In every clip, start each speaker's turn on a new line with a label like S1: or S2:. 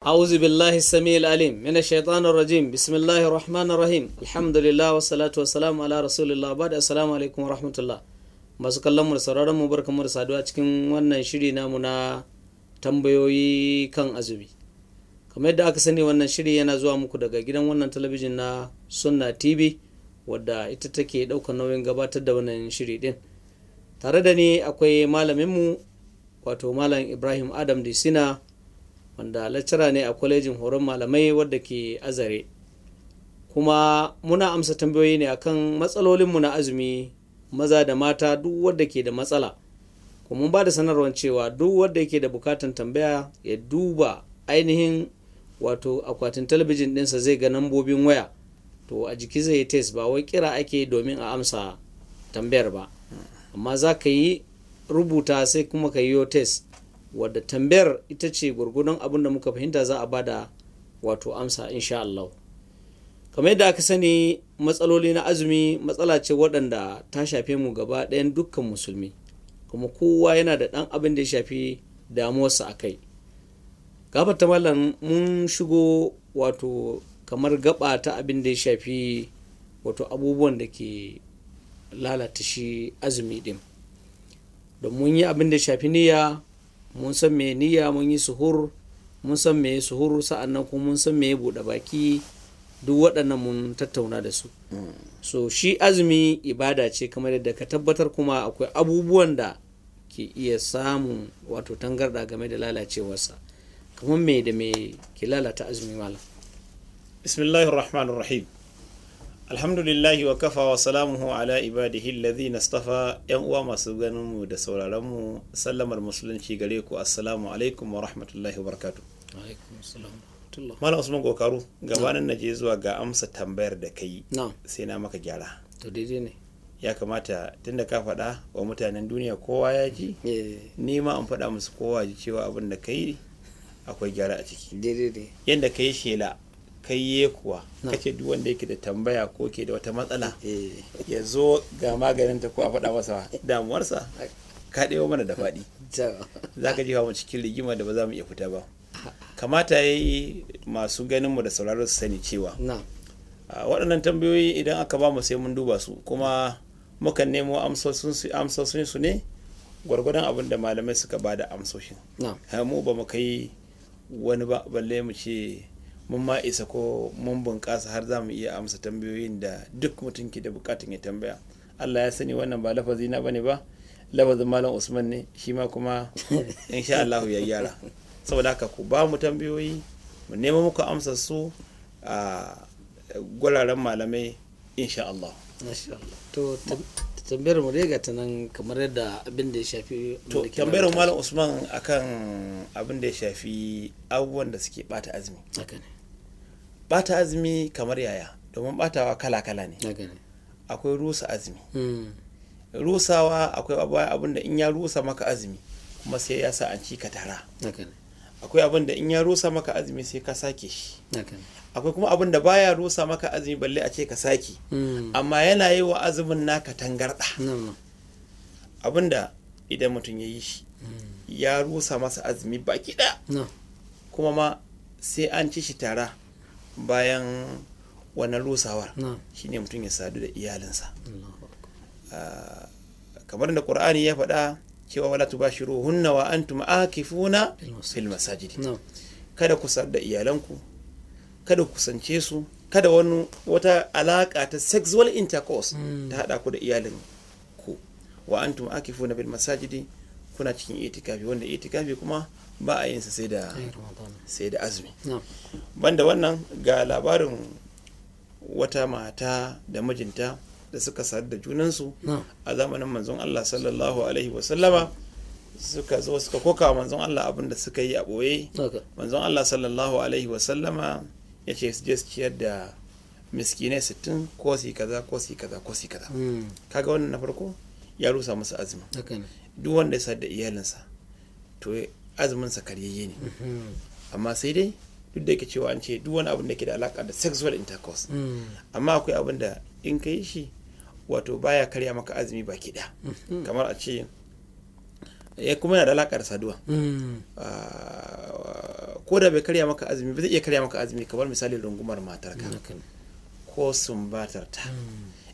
S1: أعوذ بالله السميع العليم من الشيطان الرجيم بسم الله الرحمن الرحيم الحمد لله والصلاة والسلام على رسول الله بعد السلام عليكم ورحمة الله masu kallon mu da sauraron mu barka mu da saduwa cikin wannan shiri namu na tambayoyi kan azumi kamar yadda aka sani wannan shiri yana zuwa muku daga gidan wannan talabijin na sunna tv wadda ita take ɗaukar nauyin gabatar da wannan shiri din tare da ni akwai malaminmu wato malam ibrahim adam disina wanda lecturer ne a kwalejin horon malamai wadda ke azare kuma muna amsa tambayoyi ne akan matsalolinmu na azumi maza da mata duk wadda ke da matsala kuma mun ba da sanarwar cewa duk wadda yake da bukatan tambaya ya duba ainihin wato akwatin talabijin ɗinsa zai ga nambobin waya to a jiki zai yi test ba wai kira ake domin a amsa tambayar ba amma za ka yi rubuta sai kuma ka yi test wadda tambayar ita ce gwargwadon abin da muka fahimta za a bada wato amsa insha Allah kamar yadda aka sani matsaloli na azumi matsala ce waɗanda ta shafe mu gaba ɗayan dukkan musulmi kuma kowa yana da ɗan abin da ya shafi damuwarsa a kai gabar ta mallam mun shigo wato kamar gaba ta abin da ya shafi wato abubuwan da ke lalata shi azumi ɗin don mun yi abin da ya shafi niyya mun san me niyya mun yi suhur mun san me suhur sa'annan kuma mun san me buɗe baki duk waɗannan mun tattauna da su so shi azumi ibada ce kamar yadda ka tabbatar kuma akwai abubuwan da ke iya samun wato tangarda game da lalacewarsa kamar me da me ke lalata azumi malam
S2: bismillahir rahmanir rahim alhamdulillahi wa kafa wa salamuhu ala ibadihi alladhina istafa yan uwa masu ganin mu da sauraron mu sallamar musulunci gare ku assalamu alaikum wa rahmatullahi wa barakatuh malam usman kokaru gabanin na je zuwa ga amsa tambayar da kai
S1: na'am
S2: sai na maka gyara
S1: to daidai ne
S2: ya kamata tunda ka faɗa wa mutanen duniya kowa ya ji
S1: Eh,
S2: ni ma an faɗa musu kowa ji cewa abin da kai akwai gyara a ciki
S1: daidai ne
S2: yadda ka yi shela kai ye kuwa kace duk wanda yake da tambaya ko ke da wata matsala
S1: Eh,
S2: ya zo ga maganinta ko a faɗa masa damuwarsa ka ɗewa mana da faɗi
S1: ta-
S2: za ka jefa mu cikin rigima da ba za mu iya fita ba kamata ya yi masu ganinmu da sauraro su sani cewa
S1: na'am
S2: a, waɗannan tambayoyi idan aka ba mu sai mun duba su kuma mukan nemo amsoshin su ne gwargwadon abin da malamai suka ba da amsoshin
S1: na'am
S2: Ha, mu ba mu kai wani ba balle mu ce mun ma isa ko mun bunƙasa har za mu iya amsa tambayoyin da duk mutum ke da bukatun ya tambaya Allah ya sani wannan ba lafazi na bane ba lafazin malam Usman ne shi ma kuma insha Allah ya gyara saboda haka ku ba mu tambayoyi mu nemo muku amsa su a gwararen malamai insha Allah
S1: Masha Allah. to tam- tambayar mu dai ga ta nan kamar yadda abin da ya shafi abin
S2: to
S1: da ke
S2: tambayar
S1: lalata-
S2: malam Usman akan abin da ya shafi abubuwan da suke bata azumi
S1: haka ne
S2: bata azumi kamar yaya domin batawa kala-kala ne
S1: haka ne
S2: akwai rusa azumi
S1: Hmm,
S2: rusawa akwai abu- abin da in ya rusa maka azumi kuma sai ya sa an ci ka tara
S1: haka ne
S2: akwai abin da in ya rusa maka azumi sai ka sake shi
S1: haka ne
S2: akwai kuma abin da baya rusa maka azumi balle a ce ka sake
S1: Hmm,
S2: amma yana yi wa azumin naka tangarɗa
S1: na'am, na'am.
S2: abin da idan mutum ya yi shi ya rusa masa azumi baki ɗaya
S1: Na'am.
S2: kuma ma sai an ci shi tara bayan wannan rusawar
S1: Na'am.
S2: shine mutum ya sadu da iyalinsa
S1: Allahu akbar.
S2: Ah, kamar da qur'ani ya faɗa cewa wala tubashiruhunna wa antum akifuna fil masajid
S1: Na'am.
S2: kada ku sadu da iyalanku kada ku kusance su kada wani wata alaka ta sexual intercourse ta hada ku da iyalin ku wa antum akifuna bil masajidi kuna cikin itikafi wanda itikafi kuma ba a yin sa sai da
S1: Ai, Ramadan.
S2: sai da azumi
S1: Na'am.
S2: banda wannan ga labarin wata mata da mijinta da suka sadu da junansu
S1: Na'am.
S2: a zamanin manzon Allah sallallahu alaihi wasallama suka zo suka koka wa manzon Allah abin da suka yi a ɓoye
S1: Haka.
S2: manzon Allah sallallahu alaihi wasallama ya ce su je su ciyar da miskinai 60 ko su yi kaza ko su yi kaza ko su yi kaza
S1: Hmm,
S2: kaga wannan na farko ya rusa musu azumin
S1: haka ne
S2: duk wanda ya sadu da iyalinsa to azuminsa karyayye ne
S1: Hmm,
S2: amma sai dai duk da yake cewa an ce duk wani abin da ke da alaka da sexual intercourse
S1: hmm,
S2: amma akwai abin da in ka yi shi wato baya karya maka azumi baki ɗaya kamar a ce ya eh, kuma yana da alakar saduwa Ah,
S1: Mm.
S2: ko da bai karya maka azumi ba zai iya karya maka azumi kamar misali rungumar matarka
S1: haka ne.
S2: ko sumbatar ta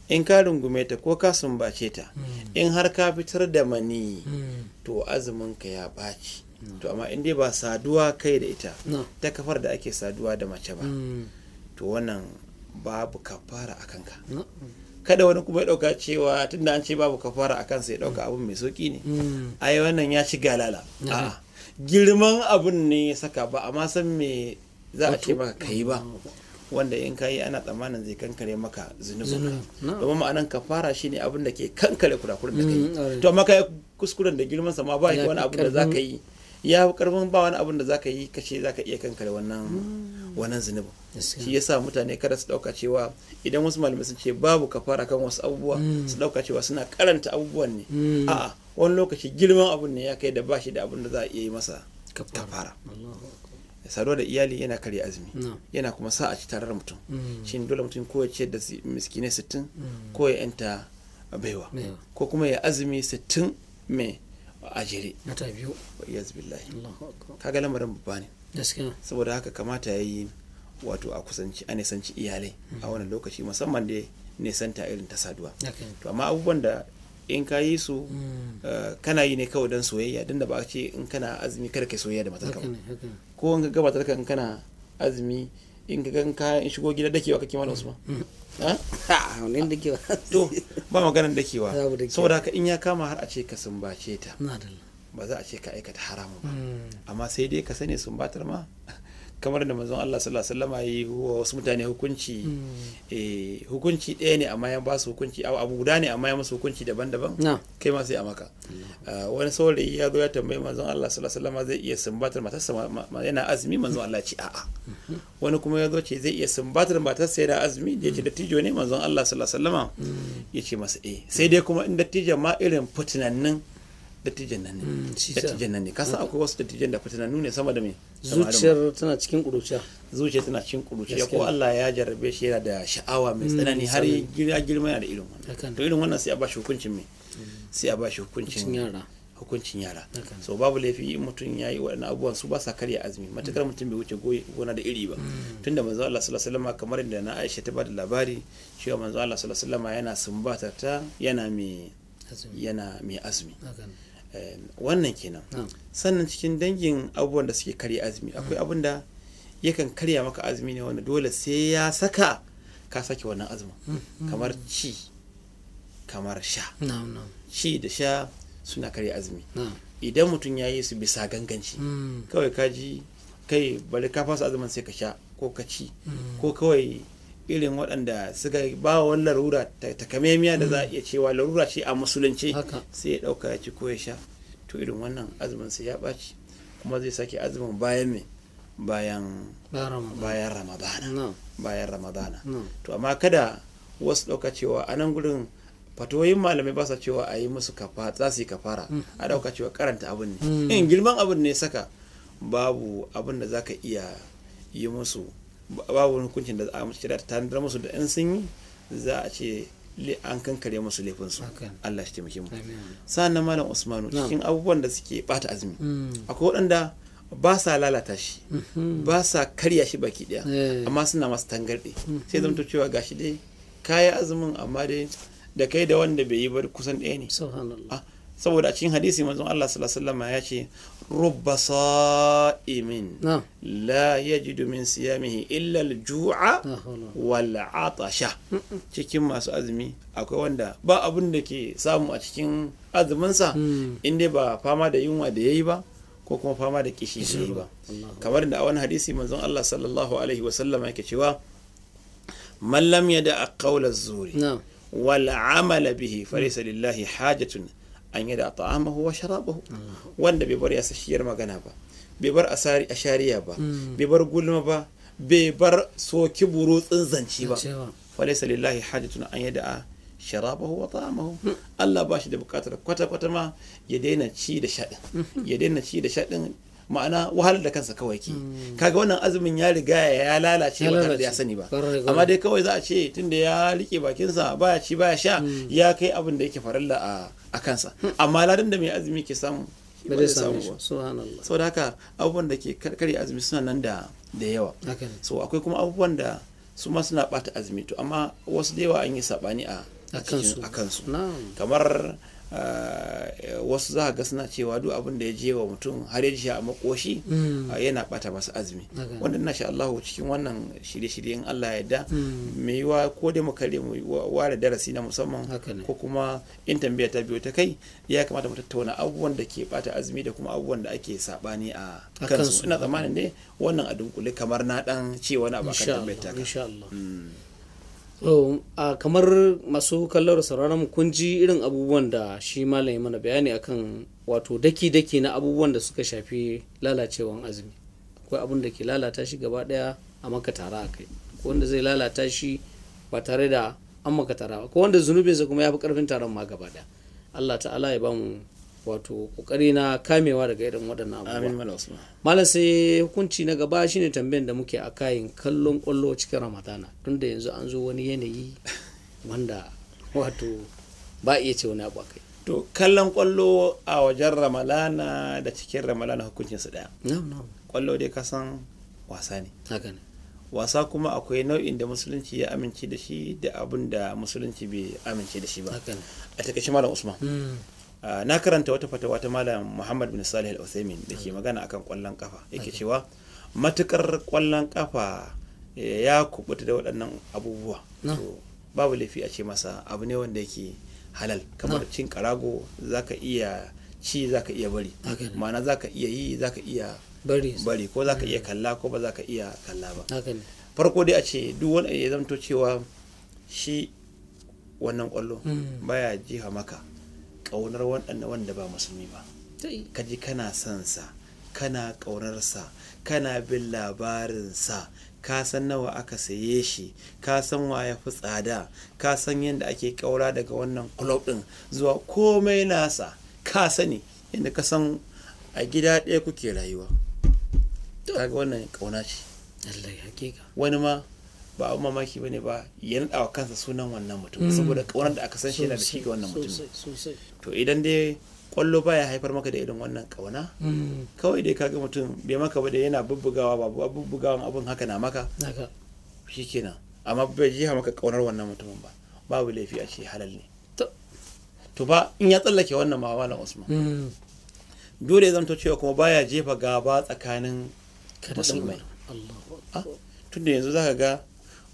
S2: in ka rungume ta ko ka sumbace ta in har ka fitar da mani
S1: Mm.
S2: to azumin ka ya ɓaci to amma in dai ba saduwa kai da ita
S1: No.
S2: ta kafar da ake saduwa da mace ba
S1: Mm.
S2: to wannan babu kafara a kanka
S1: No.
S2: kada wani kuma ya ɗauka cewa tunda an ce babu kafara a kansa ya ɗauka abin mai sauƙi ne
S1: Mm.
S2: ai wannan ya ci galala
S1: Mm-hmm.
S2: a'a girman abun ne ya saka ba amma san me za a ce maka kai ba
S1: mm.
S2: wanda in kayi ana tsammanin zai kankare maka zunubin
S1: Zunubi, na'am.
S2: domin ma'anan kafara shine abin da ke kankare kurakuren da
S1: Mm,
S2: kai
S1: alright.
S2: to amma kai kuskuren da girman sa ma ba
S1: Ya fi
S2: wani abin da za ka yi ya fi karfin ba wani abin da za ka yi kace za ka iya kankare wannan wannan zunubin
S1: Gaskiya.
S2: shi yasa mutane kada su dauka cewa idan wasu malamai sun ce babu kafara kan wasu abubuwa su dauka cewa suna karanta abubuwan ne
S1: Mm.
S2: a'a wani lokaci girman abun ne ya kai da bashi da abun da za a iya yi masa
S1: Kafara.
S2: kafara
S1: Allahu akbar.
S2: saduwa da iyali yana karya azumi
S1: No.
S2: yana kuma sa a ci tarar mutum
S1: Mm.
S2: shin dole mutum ko ya ciyar da si- miskinai sittin ko ya yanta baiwa
S1: Baiwa.
S2: ko kuma ya azumi sittin mai a jere
S1: Mata biyu.
S2: wa iyaz billahi
S1: Allahu akbar.
S2: kaga lamarin babba ne
S1: Gaskiya.
S2: saboda haka kamata ya yi wato a kusanci a nisanci iyalai a wannan lokaci musamman da nisanta irin ta saduwa
S1: Haka ne.
S2: to amma abubuwan da in ka yi su
S1: Mm.
S2: eh, kana yi ne kawai don soyayya don da ba a ce in kana azumi kada kai soyayya da matarka
S1: Haka
S2: ba
S1: ne. Haka ne.
S2: ko in ka gabata kan kana azumi in ka gan ka in shigo gida dakewa kake malam Usman Ah?
S1: Ha,
S2: Ha?
S1: wani da ke ba.
S2: to ba maganar dakewa
S1: Babu dakewa.
S2: saboda haka in ya kama har a ce ka sumbace ta
S1: Na da Allah.
S2: ba za a ce ka aikata haramun ba
S1: Mm.
S2: amma sai dai ka sani sumbatar ma kamar da manzon Allah sallallahu alaihi wasallam ya yi wa wasu mutane hukunci
S1: Hmm.
S2: eh hukunci ɗaya ne amma ya ba su hukunci abu abu guda ne amma ya musu hukunci daban-daban
S1: Na. Hmm.
S2: kai ma sai a maka Ah, wani saurayi ya zo ya tambayi manzon Allah sallallahu alaihi wasallam zai iya sumbatar matarsa ma- ma- ma- yana azumi manzon Allah ya ce a'a
S1: Hmm.
S2: wani kuma ya zo ce zai iya sumbatar matarsa yana azumi
S1: Hmm.
S2: da ya ce dattijo ne manzon Allah sallallahu alaihi wasallam ya ce masa eh sai dai kuma in dattijo ma irin fitinannin dattijan nan ne
S1: Mm, shi sa.
S2: dattijan nan ne kasan akwai wasu dattijan da fitinannu ne sama da me sama da mu.
S1: Zuciyar tana cikin ƙuruciya.
S2: zuciya tana cikin kuruciya
S1: Gaskiya. Mm,
S2: ko Allah ya jarrabe shi yana da sha'awa mai tsanani har ya gir- ya girma yana da irin wannan
S1: Hakan.
S2: to irin wannan sai a ba shi hukuncin me sai a ba shi hukuncin
S1: Cin yara.
S2: hukuncin yara
S1: Hakan.
S2: so babu laifi in mutum ya yi waɗannan abubuwan su ba sa karya azumi matakar mutum bai wuce goyi- gona da iri ba
S1: Mm.
S2: tunda manzo Allah sallallahu alaihi wasallam kamar da na Aisha ta bada labari cewa manzo Allah sallallahu alaihi wasallam yana sumbatar ta yana mai
S1: Azumi.
S2: yana mai azumi
S1: Haka ne.
S2: Eh, wannan kenan
S1: Na'am.
S2: sannan cikin dangin abubuwan da suke karya azumi akwai abin da yakan karya maka azumi ne wanda dole sai ya saka ka sake wannan azumin kamar ci kamar sha
S1: Na'am. Na'am.
S2: ci da sha suna karya azumi
S1: Na'am.
S2: idan mutum ya yi su bisa ganganci
S1: Mm.
S2: kawai ka ji kai bari ka fasa azumin sai ka sha ko ka ci ko kawai irin waɗanda suka ba wa wani larura ta- takamemiya da za a iya cewa larura ce a musulunci
S1: Haka.
S2: sai ya ɗauka ya ci ko ya sha to irin wannan azumin sai ya ɓaci kuma zai sake azumin bayan me bayan
S1: Ba Ramadan.
S2: bayan ramadana
S1: Na'am.
S2: bayan ramadana
S1: Na'am.
S2: to amma kada wasu ɗauka cewa a nan gurin fatoyin malamai ba sa cewa a yi musu kafara za su yi kafara a ɗauka cewa karanta abin
S1: Mm.
S2: ne in girman abin ne saka babu abin da za ka iya yi musu ba- babu wani hukuncin da za a musu shari'a ta tanadar musu da in sun yi za a ce li- an kankare musu laifinsu
S1: Haka.
S2: Allah shi taimake mu
S1: Amin.
S2: sa'an malam usmanu
S1: Na'am.
S2: cikin abubuwan da suke bata azumi
S1: Mm.
S2: akwai waɗanda ba sa lalata shi
S1: Mhm.
S2: ba sa karya shi baki ɗaya
S1: Eh.
S2: amma suna masu tangarɗe sai zamto cewa gashi dai kayi azumin amma dai da kai da wanda bai yi ba kusan ɗaya
S1: Mm-hmm.
S2: ne
S1: Subhanallah.
S2: Ah, saboda a cikin hadisi manzon Allah sallallahu alaihi wasallam ya ce rubba sa'imin
S1: Na'am.
S2: la yajidu min siyamihi illa al-ju'a
S1: La hawla.
S2: wal atasha cikin masu azumi akwai wanda ba abin da ke samu a cikin azuminsa
S1: Mm.
S2: inda ba fama da yunwa da yayi ba ko kuma fama da kishi da yayi ba kamar da a wani hadisi manzon Allah sallallahu alaihi wasallam yake cewa man lam yada qawla zuri
S1: Na'am.
S2: wal amala bihi falaysa lillahi hajatun an yada ta'amahu wa sharabahu wanda bai bar ya sashiyar magana ba bai bar asari ashariya ba bai bar gulma ba bai bar soki burutsin zance ba
S1: Cewa.
S2: falaysa lillahi hajatun an yada sharabahu wa ta'amahu Allah ba shi da bukatar kwata kwata ma ya daina ci da shaɗin ya daina ci da shaɗin ma'ana wahalar da kansa kawai ke kaga wannan azumin ya riga ya lalace
S1: Hmm. Ya
S2: ba tare da
S1: lalace.
S2: ya sani ba
S1: Kwarai, kwarai.
S2: amma dai kawai za a ce tunda ya rike bakinsa baya
S1: Hmm.
S2: ci baya sha ya kai abin da yake farilla a a kansa amma ladan da mai azumi ke samu
S1: ba
S2: ciki
S1: zai samu shi subhanallah
S2: saboda haka abubuwan da ke karya azumi suna nan da da yawa
S1: haka ne
S2: so akwai kuma abubuwan da su ma suna bata azumi to amma wasu da yawa an yi sabani a
S1: a
S2: cikin-
S1: kansu
S2: a kansu
S1: na'am
S2: kamar ah, wasu za ga suna cewa duk abin da ya je wa mutum har ya ji shi a makoshi
S1: Mm.
S2: ah, yana bata masa azumi
S1: Haka.
S2: wanda ina sha Allahu cikin wannan shirye-shiryen Allah ya yarda
S1: Mm.
S2: mai yiwa ko da mu kare mu wa- ware darasi na musamman
S1: Haka ne.
S2: ko kuma in tambaya ta biyo ta kai ya kamata mu tattauna abubuwan da ke bata azumi da kuma abubuwan da ake sabani a
S1: A kansu.
S2: kansu ina tsammanin ne wannan a dunkule kamar na dan ce wani abu akan
S1: insha
S2: tambayar ta
S1: Allah
S2: ka
S1: insha Allah
S2: Mm.
S1: So, a kamar masu kallar sauraron mu kun ji irin abubuwan da shi malam ya mana bayani akan wato daki-daki na abubuwan da suka shafi lalacewan azumi akwai abun da ke lalata shi gaba daya a maka tara a kai akwai wanda zai lalata shi ba tare da an maka tara ba akwai wanda zunubinsa kuma ya fi karfin taron ma gaba daya Allah ta'ala ya bamu wato kokari na kamewa daga irin waɗannan abubuwa
S2: amin mala usman
S1: malam sai hukunci na gaba shine tambayan da muke a kayan kallon kwallo cikin ramadana tunda yanzu an zo wani yanayi wanda wato ba a iya ce wani abu a kai
S2: to kallon kwallo a wajen ramalana da cikin ramalana hukuncin su daya
S1: na'am na'am
S2: kwallo dai ka san wasa ne
S1: haka ne
S2: wasa kuma akwai nau'in da musulunci ya amince da shi da abin da musulunci bai amince da shi ba
S1: haka ne
S2: a takaice malam usman
S1: Mm,
S2: Ah, na karanta wata fatawa ta malam muhammad bin salih al-uthaymin da ke magana akan kwallon kafa yake cewa matukar kwallon kafa eh, ya kubuta da waɗannan abubuwa
S1: Na.
S2: to babu laifi a ce masa abu ne wanda yake halal kamar cin karago zaka iya ci zaka iya bari
S1: Haka ne. Mm.
S2: ma'ana zaka iya yi zaka iya
S1: bari
S2: bari ko zaka iya kalla ko ba zaka iya kalla ba
S1: haka ne
S2: farko dai a ce duk wani ya zamto cewa shi wannan kwallo
S1: Mm.
S2: baya jiha maka ƙaunar waɗanda wanda ba musulmi ba
S1: tai
S2: ka ji kana son sa kana ƙaunarsa kana bin labarinsa ka san nawa aka saye shi ka san wa ya fi tsada ka san yadda ake ƙaura daga wannan club ɗin zuwa komai nasa ka sani yadda ka san a gida ɗaya kuke rayuwa kaga wannan ƙauna ce
S1: lallai hakika
S2: wani ma ba abin mamaki bane ba ya naɗa wa kansa sunan wannan mutum saboda ƙaunar da aka san shi yana da shi ga wannan mutum
S1: Mm. sosai sosai
S2: to idan dai kwallo baya haifar maka da irin wannan ƙauna
S1: Mm,
S2: kawai dai kaga mutum bai maka ba da yana bubbugawa ba bu- bubbugawan abin haka na maka
S1: haka
S2: shikenan amma bai jiha maka ƙaunar wannan mutumin ba babu laifi a ce halal ne
S1: to
S2: to ba in ya tsallake wannan ma malam usman
S1: mm,
S2: dole ya zamto cewa kuma baya jefa gaba tsakanin
S1: kada
S2: musulmai
S1: dan Allah Allahu
S2: Ah, tunda yanzu zaka ga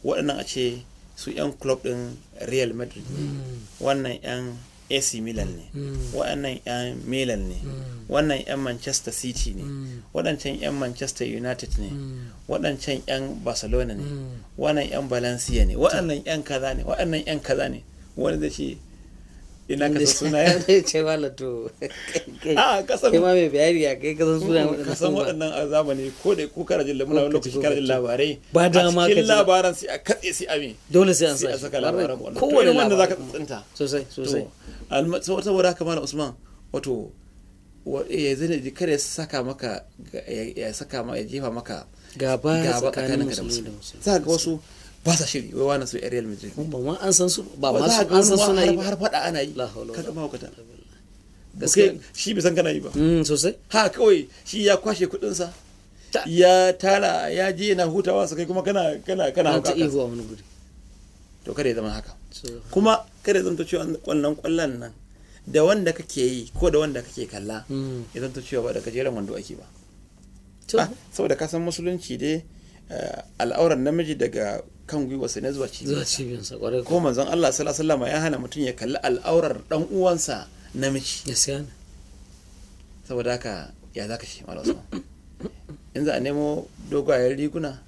S2: waɗannan a ce su 'yan club ɗin real madrid ne
S1: Hmm,
S2: wannan 'yan ac milan ne
S1: Mm.
S2: waɗannan 'yan milan ne
S1: Hmm.
S2: wannan 'yan manchester city ne
S1: Mm.
S2: waɗancan 'yan manchester united ne
S1: Mm.
S2: waɗancan 'yan barcelona ne
S1: Mm.
S2: wannan 'yan valencia ne waɗannan 'yan kaza ne waɗannan 'yan kaza ne wani zai ce ina ka san sunayen
S1: ya ce malam to
S2: a kasan
S1: kai ma mai bayani a kai kasan sunayen waɗannan
S2: Ah, ka san
S1: abubuwa.
S2: waɗannan a zamani ko da ko kana jin muna wani lokaci kana jin labarai
S1: Ba dama
S2: a
S1: ka
S2: cikin
S1: ji.
S2: labaran sai a katse sai a me
S1: dole sai an
S2: sai a
S1: sa
S2: saka labaran
S1: Barai-
S2: wannan
S1: kowane
S2: kowane wanda zaka
S1: labarin
S2: tsinta
S1: sosai sosai
S2: to saboda haka malam Usman wato wa- eh, ya zane ji kada ya saka maka ga- ya- ya saka ma ya jefa maka
S1: gaba
S2: gaba
S1: tsakanin
S2: tsakaninka da
S1: musulmi da
S2: musulmi
S1: musulmi
S2: za ka ga wasu ba sa shiri wai wani su yan Real Madrid
S1: Mun ba ma an san su ba ma
S2: ba
S1: su
S2: za ka
S1: an san
S2: ga
S1: suna
S2: wani
S1: yi
S2: ma har- har fada ana yi
S1: La hawla
S2: kaga mahaukata
S1: Gaskiya-
S2: Kai- shi bai san kana yi ba
S1: Mm, sosai
S2: ha kawai shi ya kwashe kudinsa
S1: Ta-
S2: ya tara ya je yana hutawa su kai kuma kana kana
S1: na
S2: kana
S1: ta
S2: hauka kansa.
S1: ihu a wani guri
S2: to kada ya zama haka
S1: So,
S2: kuma kada ya zanto cewa wannan kwallon nan da wanda kake yi ko da wanda kake kalla
S1: mm.
S2: ya zanto cewa ba da gajeren wando ake ba
S1: to
S2: Ah, saboda ka san musulunci dai eh, al'auran namiji daga kan gwiwarsa ne zuwa
S1: zuwa
S2: cibiyar
S1: cibiyar sa kwarai
S2: ko
S1: ko
S2: manzon Allah sallallahu alaihi wasallam ya hana mutum ya kalli al'aurar dan uwansa namiji
S1: gaskiya ne
S2: saboda haka ya zaka shi malam usman in za a nemo dogayen riguna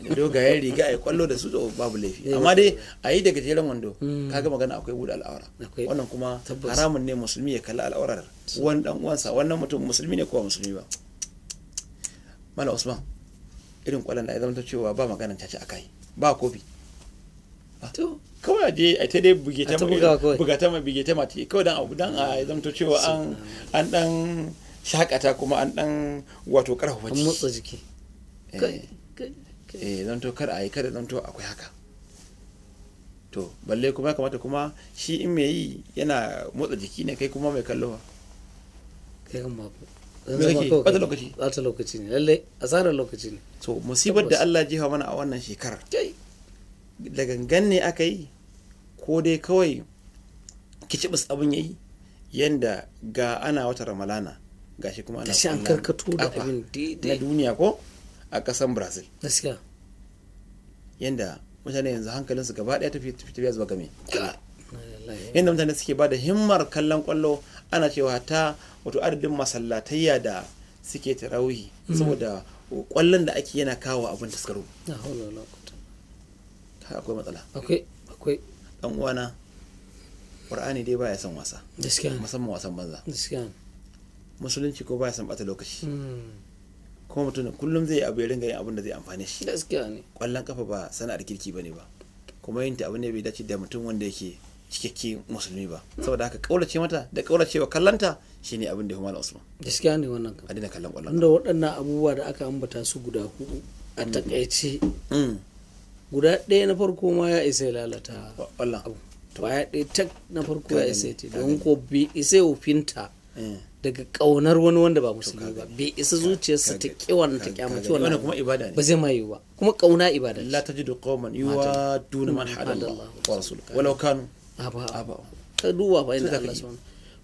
S2: da dogayen riga a yi kwallo da su to babu laifi
S1: Eh,
S2: amma dai a yi da gajeren wando
S1: Mm.
S2: kaga magana akwai buɗe al'aura
S1: Akwai.
S2: wannan kuma
S1: Tabbas.
S2: haramun ne musulmi ya kalli al'aurar wani dan uwansa wannan mutum musulmi ne ko ba musulmi ba malam usman irin kwallon da ya zama cewa ba maganan caca a kai ba kofi
S1: to
S2: kawai a je a ta dai buge
S1: A
S2: ta
S1: ta bugawa kawai.
S2: buga ta mai buge ta mace kawai dan abu dan a zamto cewa an an dan shakata kuma an dan wato karfafa
S1: an motsa jiki kai
S2: eh
S1: kai kai
S2: eh, zamto kar a yi kada zamto akwai haka to balle kuma ya kamata kuma shi in mai yi yana motsa jiki ne kai kuma mai kallo
S1: yakan babu
S2: Me kake? Bata lokaci.
S1: bata lokaci ne lallai asarar lokaci ne
S2: so musibar da Allah jefa mana a wannan shekarar da gangan ne aka yi ko dai kawai kicibis abin yayi yanda ga ana wata ramalana gashi kuma ana
S1: Gashi an
S2: kwallon
S1: karkato da
S2: kafa
S1: abin
S2: na
S1: daidai.
S2: duniya ko a kasan brazil
S1: gaskiya
S2: yanda mutane yanzu hankalinsu gaba daya tafi tafi tafiya zuwa game
S1: Lallai.
S2: yadda mutane suke ba da himmar kallon kwallo ana cewa ta wato adadin masallatayya da suke tarawihi saboda kwallon da ake yana kawo abin taskaro
S1: Na haula wala quwwata.
S2: Ka akwai matsala
S1: akwai akwai
S2: dan uwana qur'ani dai baya son wasa
S1: gaskiya ne,
S2: musamman wasan banza
S1: gaskiya ne.
S2: musulunci ko baya son bata lokaci
S1: Mm,
S2: kuma mutum kullum zai yi abu ya ringa yin abin da zai amfane shi
S1: gaskiya ne
S2: kwallon kafa ba sana'ar kirki bane ba kuma yin ta abu ne bai dace da mutum wanda yake cikakke musulmi ba saboda haka kaulace mata da kaulacewa kallanta shine abin da ya fi malam usman
S1: gaskiya ne wannan kan
S2: a daina kallon kwallon
S1: wanda waɗannan abubuwa da aka ambata su guda hudu a takaice
S2: Mm.
S1: guda ɗaya na farko ma ya isa ya lalata
S2: wallah
S1: abu baya ɗaya tak na farko ya
S2: Ka
S1: isa
S2: gani,
S1: ya ce
S2: ka
S1: don ko bai isa ya finta
S2: Eh.
S1: daga ƙaunar wani wanda ba musulmi ba bai isa zuciyarsa ta ƙi wannan ta
S2: Ka gani,
S1: ƙyamaci
S2: wannan
S1: wannan
S2: kuma ibada ne
S1: ba zai ma yiwu ba kuma ƙauna ibada ce.
S2: la tajidu qauman yuwaduna man hadallah wa rasuluhu walau kanu
S1: Aba-
S2: aba
S1: ka duba fa inda
S2: Sadaka
S1: Allah
S2: ne.
S1: subhanahu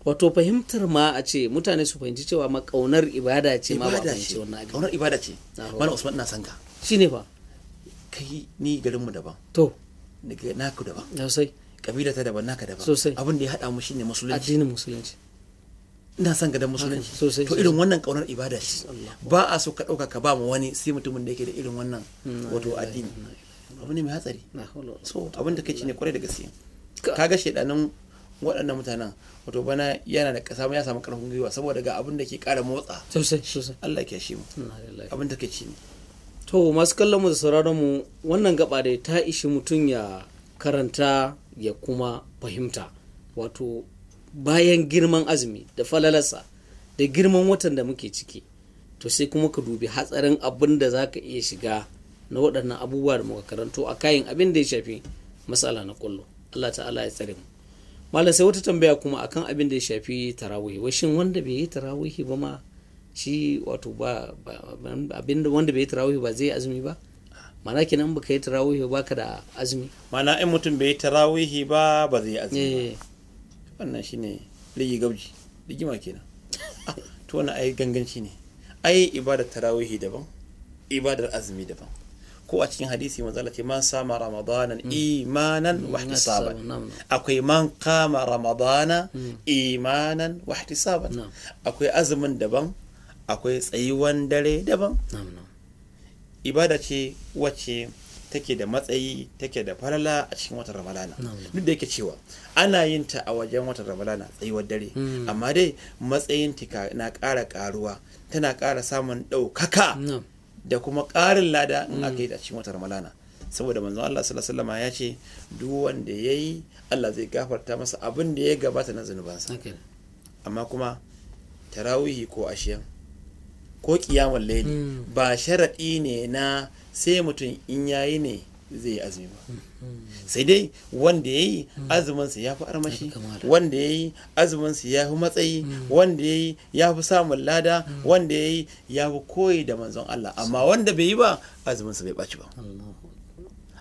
S1: wato fahimtar ma a ce mutane su fahimci cewa ma kaunar ibada ce ma ba a
S2: ibada
S1: fahimci
S2: ce
S1: wannan abin
S2: kaunar ibada ce
S1: Na ba.
S2: mana usman ina san ka
S1: shine fa
S2: kai ni garin mu daban
S1: to
S2: daga naku daban
S1: na sai
S2: kabila ta daban naka daban
S1: Sosai.
S2: abin da ya hada mu shine musulunci
S1: addinin musulunci
S2: ina san ga da musulunci
S1: Haka, sosai,
S2: to
S1: sosai.
S2: irin wannan kaunar ibada ce ba a so ka dauka ka ba mu wani sai mutumin da yake da irin wannan wato addini abu ne mai hatsari
S1: na hawla wala
S2: so abin da kai ne kwarai da gaske
S1: Ka-
S2: kaga shedanin waɗannan mutanen wato bana yana da kasa ya samu karfin gwiwa saboda ga abin da ke ƙara motsa
S1: sosai sosai
S2: Allah ya shi mu
S1: Inna lillahi.
S2: abin da kai ne
S1: to masu kallon mu da sauraron mu wannan gaba da ta ishi mutum ya karanta ya kuma fahimta wato bayan girman azumi da falalarsa da girman watan da muke ciki to sai kuma ka dubi hatsarin abin da za ka iya shiga na waɗannan abubuwa da muka karanto a kayan abin da ya shafi matsala na kullo Allah ta'ala ya tsare mu malam sai wata tambaya kuma akan abin da ya shafi tarawihi wai shin wanda bai yi tarawihi ba ma shi wato ba ba- ba- abin da wanda bai yi tarawihi ba zai yi azumi ba mana kenan baka yi tarawihi ba ka da azumi
S2: mana in mutum bai yi tarawihi ba ba zai yi azumi
S1: eh
S2: ba wannan shine ligi gabji ligima kenan Ah, to wannan ai ganganci ne ai ibadar tarawihi daban ibadar azumi daban ko a cikin hadisi manzala ce man sama ramadanan imanan wa ihtisaban
S1: Hmm. Na'am, na'am.
S2: akwai man kama ramadana imanan wa ihtisaban
S1: Na'am.
S2: akwai azumin daban akwai tsayuwan dare daban
S1: na'am na'am
S2: ibada ce wacce take da matsayi take da falala a cikin watan ramalana duk da yake cewa ana yin ta a wajen watan ramalana tsayuwar dare amma dai matsayin ta na ƙara ƙaruwa tana ƙara samun ɗaukaka
S1: Na'am.
S2: da kuma ƙarin lada in aka yi ta a cikin watan ramalana saboda manzon Allah sallallahu alaihi wasallam ya ce duk wanda yayi Allah zai gafarta masa abin da ya gabata na zunubansa
S1: haka ne.
S2: amma kuma tarawihi ko ashiyan ko kiyamun laili
S1: Mm.
S2: ba sharaɗi ne na sai mutum in yayi ne zai yi azumi ba
S1: Hmm.
S2: sai dai wanda ya yi azuminsa ya fi armashi
S1: kamala. Mm.
S2: wanda ya yi azuminsa ya fi matsayi wanda ya yi ya fi samun lada wanda ya yi ya fi koyi da manzon Allah amma wanda bai yi ba azuminsa bai ɓaci ba
S1: Allahu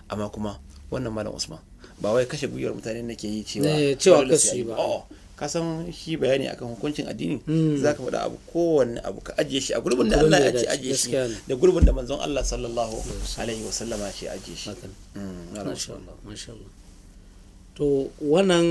S2: amma kuma wannan malam usman ba wai kashe gwiwar mutane nake yi cewa
S1: Eh, cewa
S2: dole
S1: kasu
S2: sai
S1: yi
S2: an
S1: ba.
S2: a'a. ka san shi bayani akan hukuncin addini
S1: Mm.
S2: za ka faɗa abu kowanne abu ka ajiye shi a gurbin da
S1: Gurbin
S2: Allah
S1: da
S2: ya
S1: ya
S2: ce
S1: dace,
S2: ajiye shi
S1: gaskiya ne.
S2: da gurbin da manzon Allah sallallahu alaihi wa sallama ya ce ajiye shi
S1: Haka ne.
S2: Mm, malam
S1: Masha
S2: Usman.
S1: Allah, masha Allah. To wannan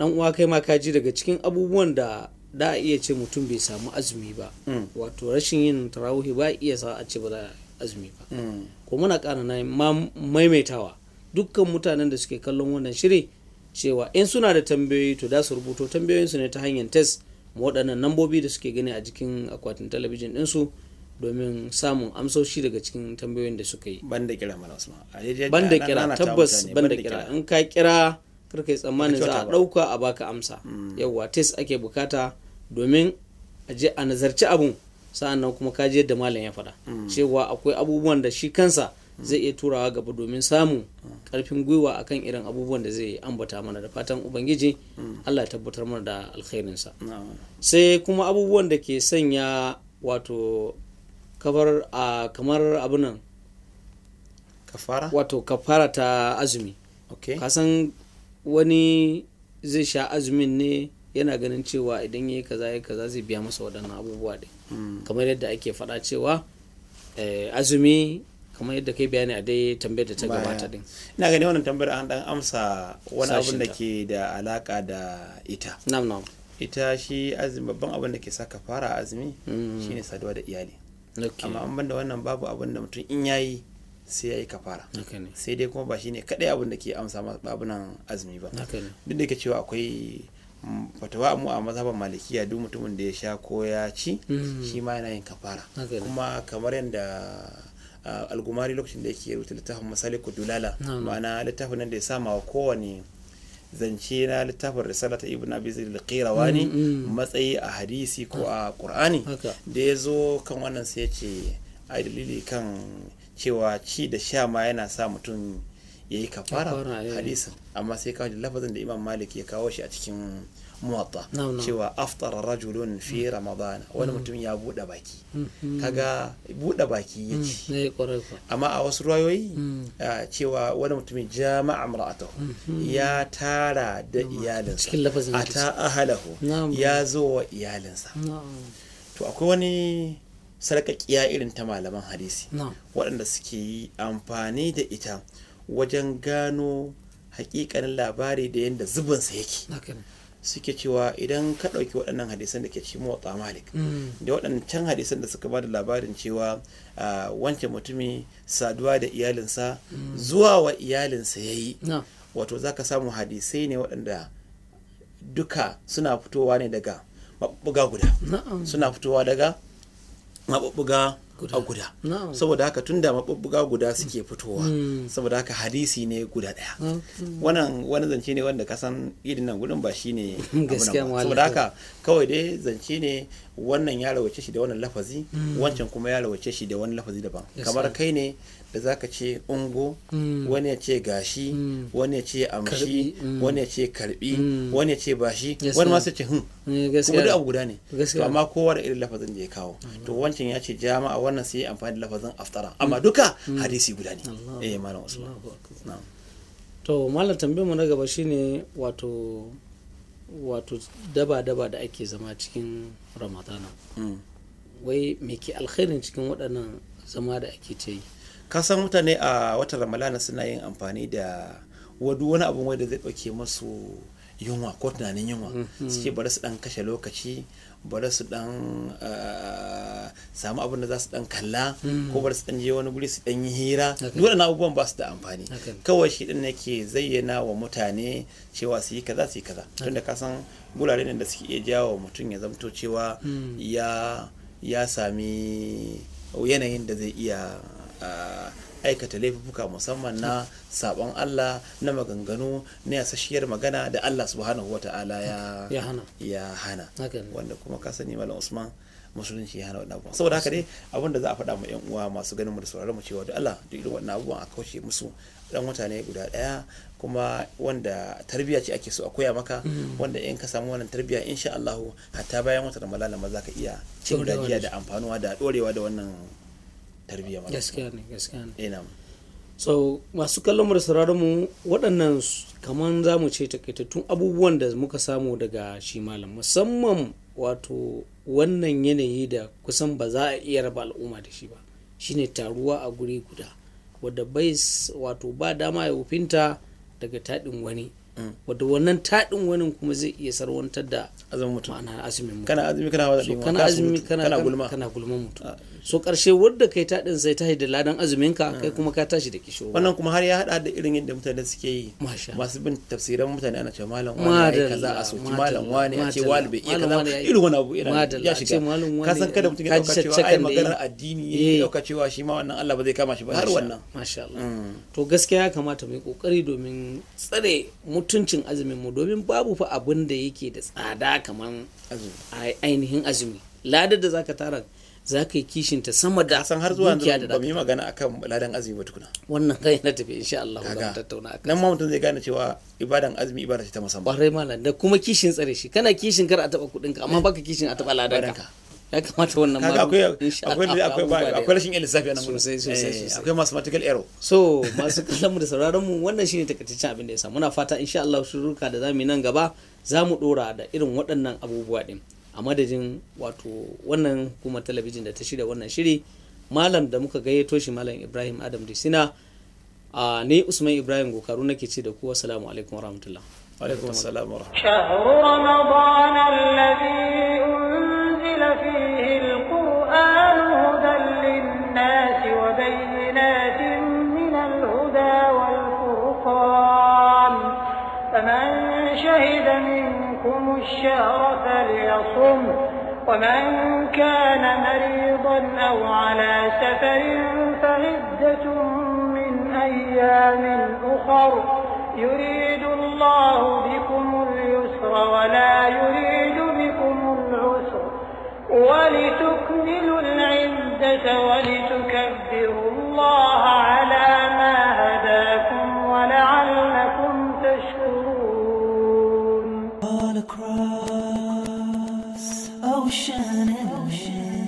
S1: dan uwa kai ma kaji daga cikin abubuwan da da a iya ce mutum bai samu azumi ba.
S2: Mm.
S1: Wato rashin yin tarawih ba iya sa a ce ba za a azumi ba.
S2: Mm.
S1: Ko muna ƙara na ma maimaitawa dukkan mutanen da suke kallon wannan shiri cewa in suna da tambayoyi to da su rubuto tambayoyinsu ne ta hanyar test ma waɗannan nambobi da suke gani a jikin akwatin talabijin ɗinsu domin samun amsoshi daga cikin tambayoyin da suka yi.
S2: banda kira malam usman Ah, A daidai
S1: banda
S2: na-
S1: kira
S2: na- na ta
S1: tabbas
S2: mutane,
S1: banda kira in ka kira karka yi tsammanin za a
S2: Baka kyauta ba. Hmm.
S1: ɗauka a baka amsa yawwa test ake bukata domin a je
S2: Hmm.
S1: a nazarci abun sa'an nan kuma ka je yadda malam ya faɗa cewa akwai abubuwan da shi kansa zai iya turawa gaba domin samun
S2: Hmm.
S1: karfin gwiwa akan irin abubuwan da zai ambata mana da fatan ubangiji
S2: Hmm.
S1: Allah ya tabbatar mana da alkhairinsa
S2: na'am
S1: sai kuma abubuwan da ke sanya wato kafar a kamar abunan
S2: kafara
S1: wato kafara ta azumi
S2: okay
S1: kasan wani zai sha azumin ne yana ganin cewa idan ya yi kaza ya kaza zai biya masa waɗannan abubuwa ɗin
S2: Mm.
S1: kamar yadda ake faɗa cewa eh, azumi kamar yadda kai bayani a dai tambayar da ta
S2: Baya.
S1: gabata ɗin
S2: ina ganin wannan tambayar an dan amsa wani abin da
S1: Sashinta.
S2: ke da alaka da ita
S1: nam nam
S2: ita shi azumi babban abin da ke sa kafara a azumi
S1: Mm.
S2: shine saduwa da iyali
S1: okay.
S2: amma an banda wannan babu abin da mutum in yayi sai yayi kafara
S1: haka ne
S2: sai dai kuma ba shine kadai abin da ke amsa ma- babunan azumi ba
S1: haka ne
S2: duk da ke cewa akwai mm, fatawa mu a mazhaban malikiya duk mutumin da ya sha ko ya ci
S1: Mm.
S2: shi ma yana yin kafara
S1: Haka ne.
S2: kuma kamar yadda ah, algumari lokacin da yake rubuta littafin masaliku dulala
S1: Na, na.
S2: ma'ana littafin nan da ya sama wa kowane zance na littafin risala ta ibn abi zaid al-qirawani
S1: Mm, mm.
S2: matsayi a hadisi ko a qur'ani
S1: Haka.
S2: da ya zo kan wannan sai ya ce ai dalili kan cewa ci da sha ma yana sa mutum ya yi
S1: Kafara,
S2: kafara
S1: eh.
S2: hadisin amma sai kawo da lafazin da imam malik ya kawo shi a cikin muwatta
S1: Na'am, Mm. na'am.
S2: cewa aftara rajulun fi ramadana wani mutum ya buɗe baki
S1: Mm,
S2: kaga buɗe baki ya ci
S1: ne kwarai kwa
S2: amma a wasu ruwayoyi
S1: Mm.
S2: ah, cewa wani mutumin jama'a mar'atahu ya tara da iyalinsa
S1: Cikin lafazin hadisi.
S2: ata ahalahu
S1: Na'am.
S2: ya zo wa iyalinsa
S1: Na'am.
S2: to akwai wani sarƙaƙiya irin ta malaman hadisi
S1: Na'am.
S2: waɗanda suke yi amfani da ita wajen gano hakikanin labari da yadda zubinsa yake
S1: haka ne
S2: suke cewa idan ka ɗauki waɗannan hadisan da ke cikin motsa malik
S1: Mm.
S2: da waɗancan hadisan da suka ba da labarin cewa ah, wancan mutumi saduwa da iyalinsa zuwa wa iyalinsa ya yi
S1: Na'am.
S2: wato za ka samu hadisai ne waɗanda duka suna fitowa ne daga maɓuɓɓuga guda
S1: Na'am.
S2: suna fitowa daga maɓuɓɓuga
S1: Guda.
S2: a guda
S1: Na'am.
S2: saboda haka tunda maɓuɓɓuga guda suke fitowa
S1: Mm.
S2: saboda haka hadisi ne guda ɗaya
S1: Okay.
S2: wannan wani zance ne wanda kasan irin nan gudun ba shi ne abu nan ba.
S1: Gaskiya mawala.
S2: saboda haka kawai dai zance ne wannan ya rawace shi da wannan lafazi wancan kuma ya rawace shi da wani lafazi daban
S1: Hmm. Gaskiya.
S2: kamar kai ne da zaka ce ungo
S1: Mm.
S2: wani ya ce gashi
S1: Mm.
S2: wani ya ce amshi
S1: Karbi, mm.
S2: wani ya ce karbi
S1: Mm.
S2: wani ya ce bashi
S1: Yes,
S2: wani ma
S1: ma'am.
S2: sai ce "Hmm, hun
S1: Eh,
S2: kuma duk
S1: gaskiya
S2: abu guda ne
S1: Gaskiya.
S2: to amma kowa da irin lafazin da ya kawo to wancan ya ce jama'a wannan sai ya amfani da lafazin aftara amma duka hadisi guda ne
S1: Allah.
S2: eh malam usman
S1: Mm. Allahu akbar.
S2: na'am
S1: to malam tambayar mu na gaba shine wato wato daba daba da ake zama cikin ramadana
S2: Mm.
S1: wai me ke alkhairin cikin waɗannan zama da ake ta yi
S2: ka san mutane a watan ramalana suna yin amfani da wadu wani abin wanda zai ɗauke masu yunwa ko tunanin yunwa
S1: Mm,
S2: su ce bari su ɗan kashe lokaci bari su ɗan ah, samu abin da za su ɗan kalla ko bari su ɗan je wani guri su ɗan yi hira
S1: Mm. Haka.
S2: duk waɗannan abubuwan ba su da amfani
S1: Haka.
S2: kawai shi ɗin yake zayyana wa mutane cewa su yi kaza su yi kaza tunda ka san gurare ne da suke iya jawo mutum ya zamto cewa ya ya sami yanayin da zai iya ah, aikata laifuka musamman na sabon Allah na maganganu na yasashiyar magana da Allah subhanahu wa ta'ala ya
S1: ya hana
S2: ya hana
S1: haka ne
S2: wanda kuma ka sani malam Usman musulunci ya hana wannan abubuwan saboda haka dai abin da za a faɗa ma yan uwa masu ganin mu da sauraron mu cewa da Allah duk irin wannan abubuwan a kauce musu dan mutane guda ɗaya kuma wanda tarbiyya ce ake so a koya maka
S1: Mm.
S2: wanda in ka samu wannan tarbiyya insha Allah hatta bayan wata ramalala ma za ka iya cin
S1: Ɗorewa da
S2: gajiya
S1: shi.
S2: da amfanuwa da ɗorewa da wannan tarbiyya malam
S1: gaskiya ne gaskiya ne
S2: Eh, na'am.
S1: so masu kallon mu da sauraron mu waɗannan kamar za mu ce takaitattun abubuwan da muka samu daga shi malam musamman wato wannan yanayi da kusan ba za a iya raba al'umma da shi ba shine taruwa a guri guda wadda bai s- wato ba dama ya wufinta daga taɗin wani
S2: Mm.
S1: wadda wannan taɗin wani kuma zai iya sarwantar da
S2: azumin mutum
S1: ma'ana azumin mu
S2: kana azumi kana wada ɗin
S1: kana azumi kana
S2: kana gulma
S1: kana gulma mutum
S2: Ah.
S1: so karshe wadda kai taɗin sai tashi da ladan azumin ka kai kuma ka tashi da kishiyo
S2: wannan kuma har ya hada da irin yadda mutane suke yi
S1: Masha Allah.
S2: masu bin tafsiran mutane ana cewa malam wani ya yi kaza
S1: Madalla,
S2: a soki
S1: madalla,
S2: malam wani a ce wani bai iya
S1: madalla,
S2: kaza
S1: malam wani ya yi-
S2: irin wani abu irin
S1: madalla,
S2: ya
S1: a ce
S2: shiga
S1: malam wani
S2: ka san kada mutum ya
S1: kaji
S2: dauka cewa ai
S1: caccakan da yi.
S2: maganar addini ne
S1: Eh.
S2: ya dauka cewa shi ma wannan Allah ba zai kama shi ba har wannan
S1: masha Allah
S2: Mm.
S1: to gaskiya ya kamata mu yi kokari domin tsare mutuncin azumin mu domin babu fa abin da yake da tsada kamar
S2: azumi
S1: ai- ainihin azumi ladar da zaka tara za ka yi kishinta sama da
S2: san har zuwa
S1: dukiya
S2: yanzu
S1: da
S2: ba mu
S1: dadi.
S2: yi magana akan ladan azumi ba tukuna
S1: wannan kai na tafi insha Allah za mu
S2: kaga
S1: tattauna akan
S2: nan ma mutum zai gane cewa ibadan azumi ibada ce ta musamman
S1: kwarai malam da kuma kishin tsare shi kana kishin kar a taba kudin ka amma baka kishin a taba ladan ka
S2: Ladanka.
S1: ya kamata wannan
S2: kaga
S1: ma
S2: akwai
S1: insha
S2: akwai
S1: Allah abubuwa
S2: akwai
S1: da
S2: akwai
S1: yawa.
S2: akwai rashin yin lissafi a nan gurin.
S1: Sosai, sosai,
S2: Eh,
S1: sosai.
S2: akwai mathematical error
S1: so masu kallon mu da sauraron mu wannan shine takaitaccen abin da ya samu muna fata insha Allah shuruka da zamu yi nan gaba zamu dora da irin waɗannan abubuwa din a madadin wato wannan hukumar talabijin da ta shirya wannan shiri malam da muka gayyato shi malam Ibrahim Adam Disina a ne Usman Ibrahim Gokaru nake ce da ku assalamu alaikum warahmatullahi
S2: alaikum assalam wa rahmatullahi.
S3: شهر رمضان الذي أنزل فيه القرآن هدى للناس وبينات من الهدى والفرقان فمن شهد منكم الشهر فليصم ومن كان مريضا أو على سفر فعدة من أيام أخر يريد الله بكم اليسر ولا يريد بكم العسر ولتكملوا العدة ولتكبروا الله على ما هداكم ولعلكم تشكرون
S4: all across ocean and land.